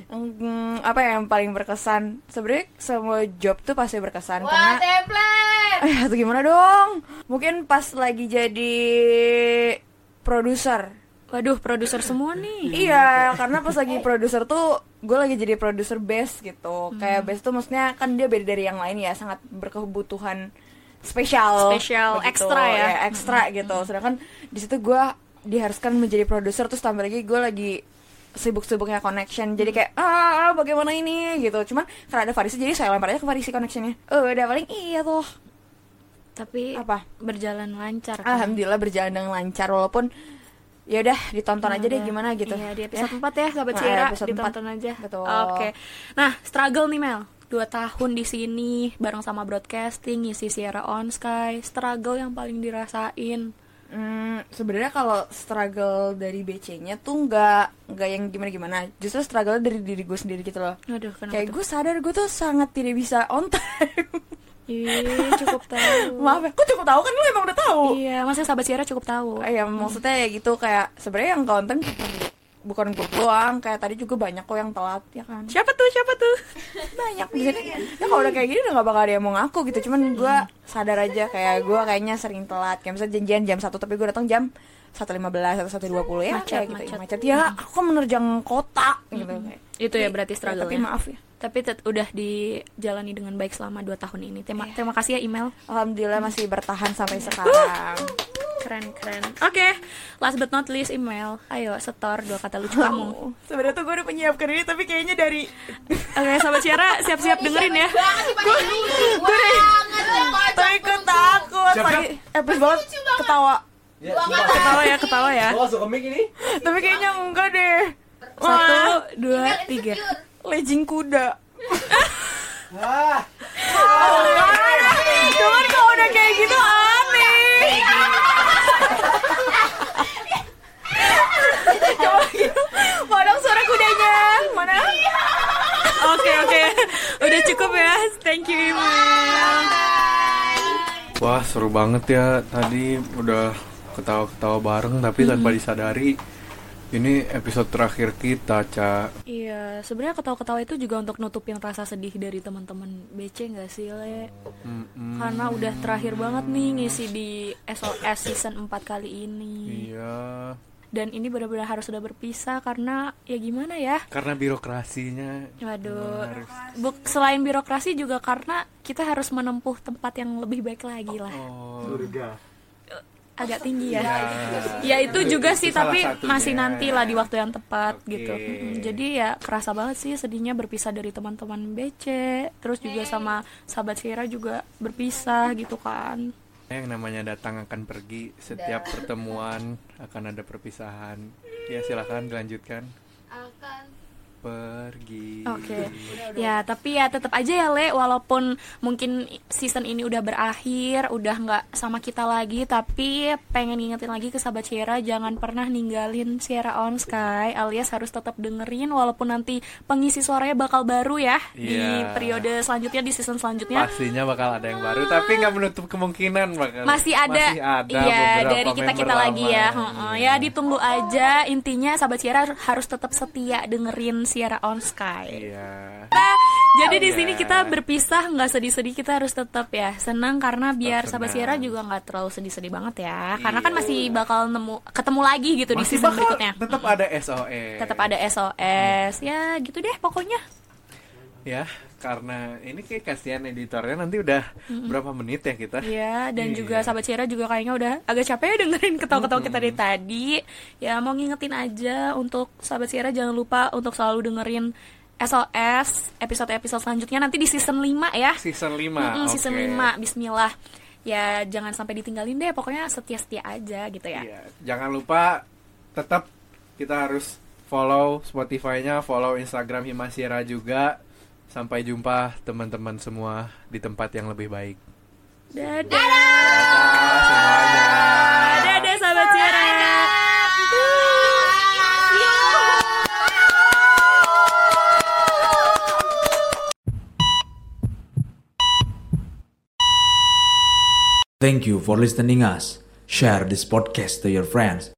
S7: Mm, apa yang paling berkesan sebenarnya semua job tuh pasti berkesan
S5: Wah,
S7: karena
S5: template.
S7: Eh, atau gimana dong? Mungkin pas lagi jadi produser.
S4: Waduh, produser semua nih.
S7: Iya, karena pas lagi produser tuh gue lagi jadi produser bass gitu. Kayak bass tuh maksudnya kan dia beda dari yang lain ya, sangat berkebutuhan spesial,
S4: Spesial, ekstra ya.
S7: ekstra gitu. Sedangkan di situ gue diharuskan menjadi produser terus tambah lagi gue lagi sibuk-sibuknya connection jadi kayak ah bagaimana ini gitu cuman karena ada Farisi jadi saya lempar aja ke Farisi connectionnya eh udah paling iya tuh
S4: Tapi
S7: apa
S4: berjalan lancar. kan?
S7: alhamdulillah berjalan dengan lancar walaupun ya udah ditonton aja deh
S4: Udah.
S7: gimana gitu
S4: Iya, di
S7: Ya.
S4: episode 4 ya, sahabat
S7: Nah,
S4: Sierra,
S7: episode
S4: ditonton aja.
S7: Betul.
S4: Oke. Nah, struggle nih Mel. Dua tahun di sini bareng sama broadcasting, ngisi Sierra on Sky, struggle yang paling dirasain.
S7: Hmm, sebenarnya kalau struggle dari BC-nya tuh nggak nggak yang gimana-gimana. Justru struggle dari diri gue sendiri gitu loh.
S4: Aduh, kenapa
S7: Kayak
S4: tuh?
S7: gue sadar gue tuh sangat tidak bisa on time.
S4: Ih, cukup tahu.
S7: Maaf ya, kok cukup tahu kan lu emang udah tahu.
S4: Iya, maksudnya sahabat Sierra cukup tahu.
S7: Ah, ya maksudnya ya gitu kayak sebenarnya yang konten bukan gue doang kayak tadi juga banyak kok yang telat ya kan
S4: Siapa tuh? Siapa tuh?
S7: banyak di sini ya kalau udah kayak gini udah gak bakal ada yang mau ngaku gitu cuman gue sadar aja kayak gue kayaknya sering telat kayak misalnya janjian jam 1 tapi gue datang jam 1.15 atau 1.20 ya
S4: Macet,
S7: kayak gitu
S4: macet.
S7: macet, ya aku menerjang kota gitu kayak.
S4: Itu ya berarti struggle
S7: tapi maaf ya
S4: Tapi tet- udah dijalani dengan baik selama 2 tahun ini. Terima, terima kasih ya email.
S7: alhamdulillah masih bertahan sampai sekarang
S4: Keren, keren. Oke, last but not least email. Ayo setor dua kata lucu kamu.
S7: sebenarnya tuh gue udah menyiapkan ini tapi kayaknya dari
S4: Oke, sahabat Ciara siap-siap dengerin ya.
S2: Gue
S7: tuh ikut takut
S8: Siap,
S7: tadi epic banget ketawa
S8: Ya,
S4: Ketawa ya, ketawa ya.
S8: Lo masuk ke mic ini?
S7: tapi kayaknya enggak deh
S4: Satu,
S7: Wah,
S4: dua, tiga.
S7: lejing kuda
S8: Wah.
S7: Cuman kalau udah kayak gitu
S4: Iya.
S7: aneh. Coba gitu. Mau dong suara kudanya. Mana?
S4: Oke, oke. Udah cukup ya. Thank you, email.
S3: Wah seru banget ya tadi udah ketawa-ketawa bareng tapi tanpa disadari ini episode terakhir kita cak.
S4: Iya, sebenarnya ketawa-ketawa itu juga untuk nutupin rasa sedih dari teman-teman BC nggak sih, Le?
S3: Mm-mm.
S4: Karena udah terakhir banget nih ngisi di SOS season 4 kali ini.
S3: Iya
S4: Dan ini benar-benar harus sudah berpisah karena ya gimana ya?
S3: karena birokrasinya.
S4: Waduh,
S3: Harus.
S4: Buk- selain birokrasi juga karena kita harus menempuh tempat yang lebih baik lagi lah.
S3: Oh. Iya.
S4: Agak tinggi ya. Ya itu juga sih,
S3: Itu salah
S4: tapi
S3: satunya.
S4: masih nanti lah di waktu yang tepat
S3: Oke.
S4: gitu. Mm-mm. Jadi ya kerasa banget sih sedihnya berpisah dari teman-teman BC, terus juga sama sahabat Sierra juga berpisah gitu kan.
S3: Yang namanya datang akan pergi, setiap pertemuan akan ada perpisahan. Ya silakan dilanjutkan. Pergi.
S4: Oke. Ya, tapi ya tetap aja ya Le, walaupun mungkin season ini udah berakhir, udah nggak sama kita lagi, tapi pengen ngingetin lagi ke sahabat Sierra jangan pernah ninggalin Sierra on Sky alias harus tetap dengerin walaupun nanti pengisi suaranya bakal baru ya di
S3: Iya.
S4: periode selanjutnya di season selanjutnya.
S3: Pastinya bakal ada yang baru, tapi nggak menutup kemungkinan bakal
S4: Masih ada,
S3: masih ada
S4: iya
S3: beberapa
S4: dari kita kita
S3: member
S4: lagi ya.
S3: lama. Iya.
S4: Heeh, Ya ditunggu aja. Intinya sahabat Sierra harus tetap setia dengerin Sierra on Sky.
S3: Iya.
S4: kita. Jadi di
S3: Iya.
S4: sini kita berpisah nggak sedih-sedih kita harus tetap ya senang karena biar
S3: Tetap
S4: sahabat
S3: senang. Iya.
S4: Sierra juga nggak terlalu sedih-sedih banget ya. Karena kan masih bakal nemu ketemu lagi gitu di
S3: Masih
S4: season
S3: bakal
S4: berikutnya.
S3: Tetap ada E. SOS.
S4: Tetap ada SOS ya gitu deh pokoknya.
S3: Ya, karena ini kayak kasihan editornya nanti udah berapa menit ya kita.
S4: Ya dan
S3: Iya.
S4: juga sahabat Sierra juga kayaknya udah agak capek ya dengerin ketawa-ketawa kita dari tadi. Ya mau ngingetin aja untuk sahabat Sierra jangan lupa untuk selalu dengerin SOS episode-episode selanjutnya nanti di season 5 ya.
S3: Season 5.
S4: Mm-mm, Season
S3: oke.
S4: 5, bismillah Ya jangan sampai ditinggalin deh Pokoknya setia-setia aja gitu ya
S3: Iya, jangan lupa tetap kita harus follow Spotify-nya, follow Instagram Himasira juga. Sampai jumpa teman-teman semua di tempat yang lebih baik.
S4: Dadah
S3: Dadah semuanya.
S4: Dadah sahabat Ciara
S11: Thank you for listening us. Share this podcast to your friends.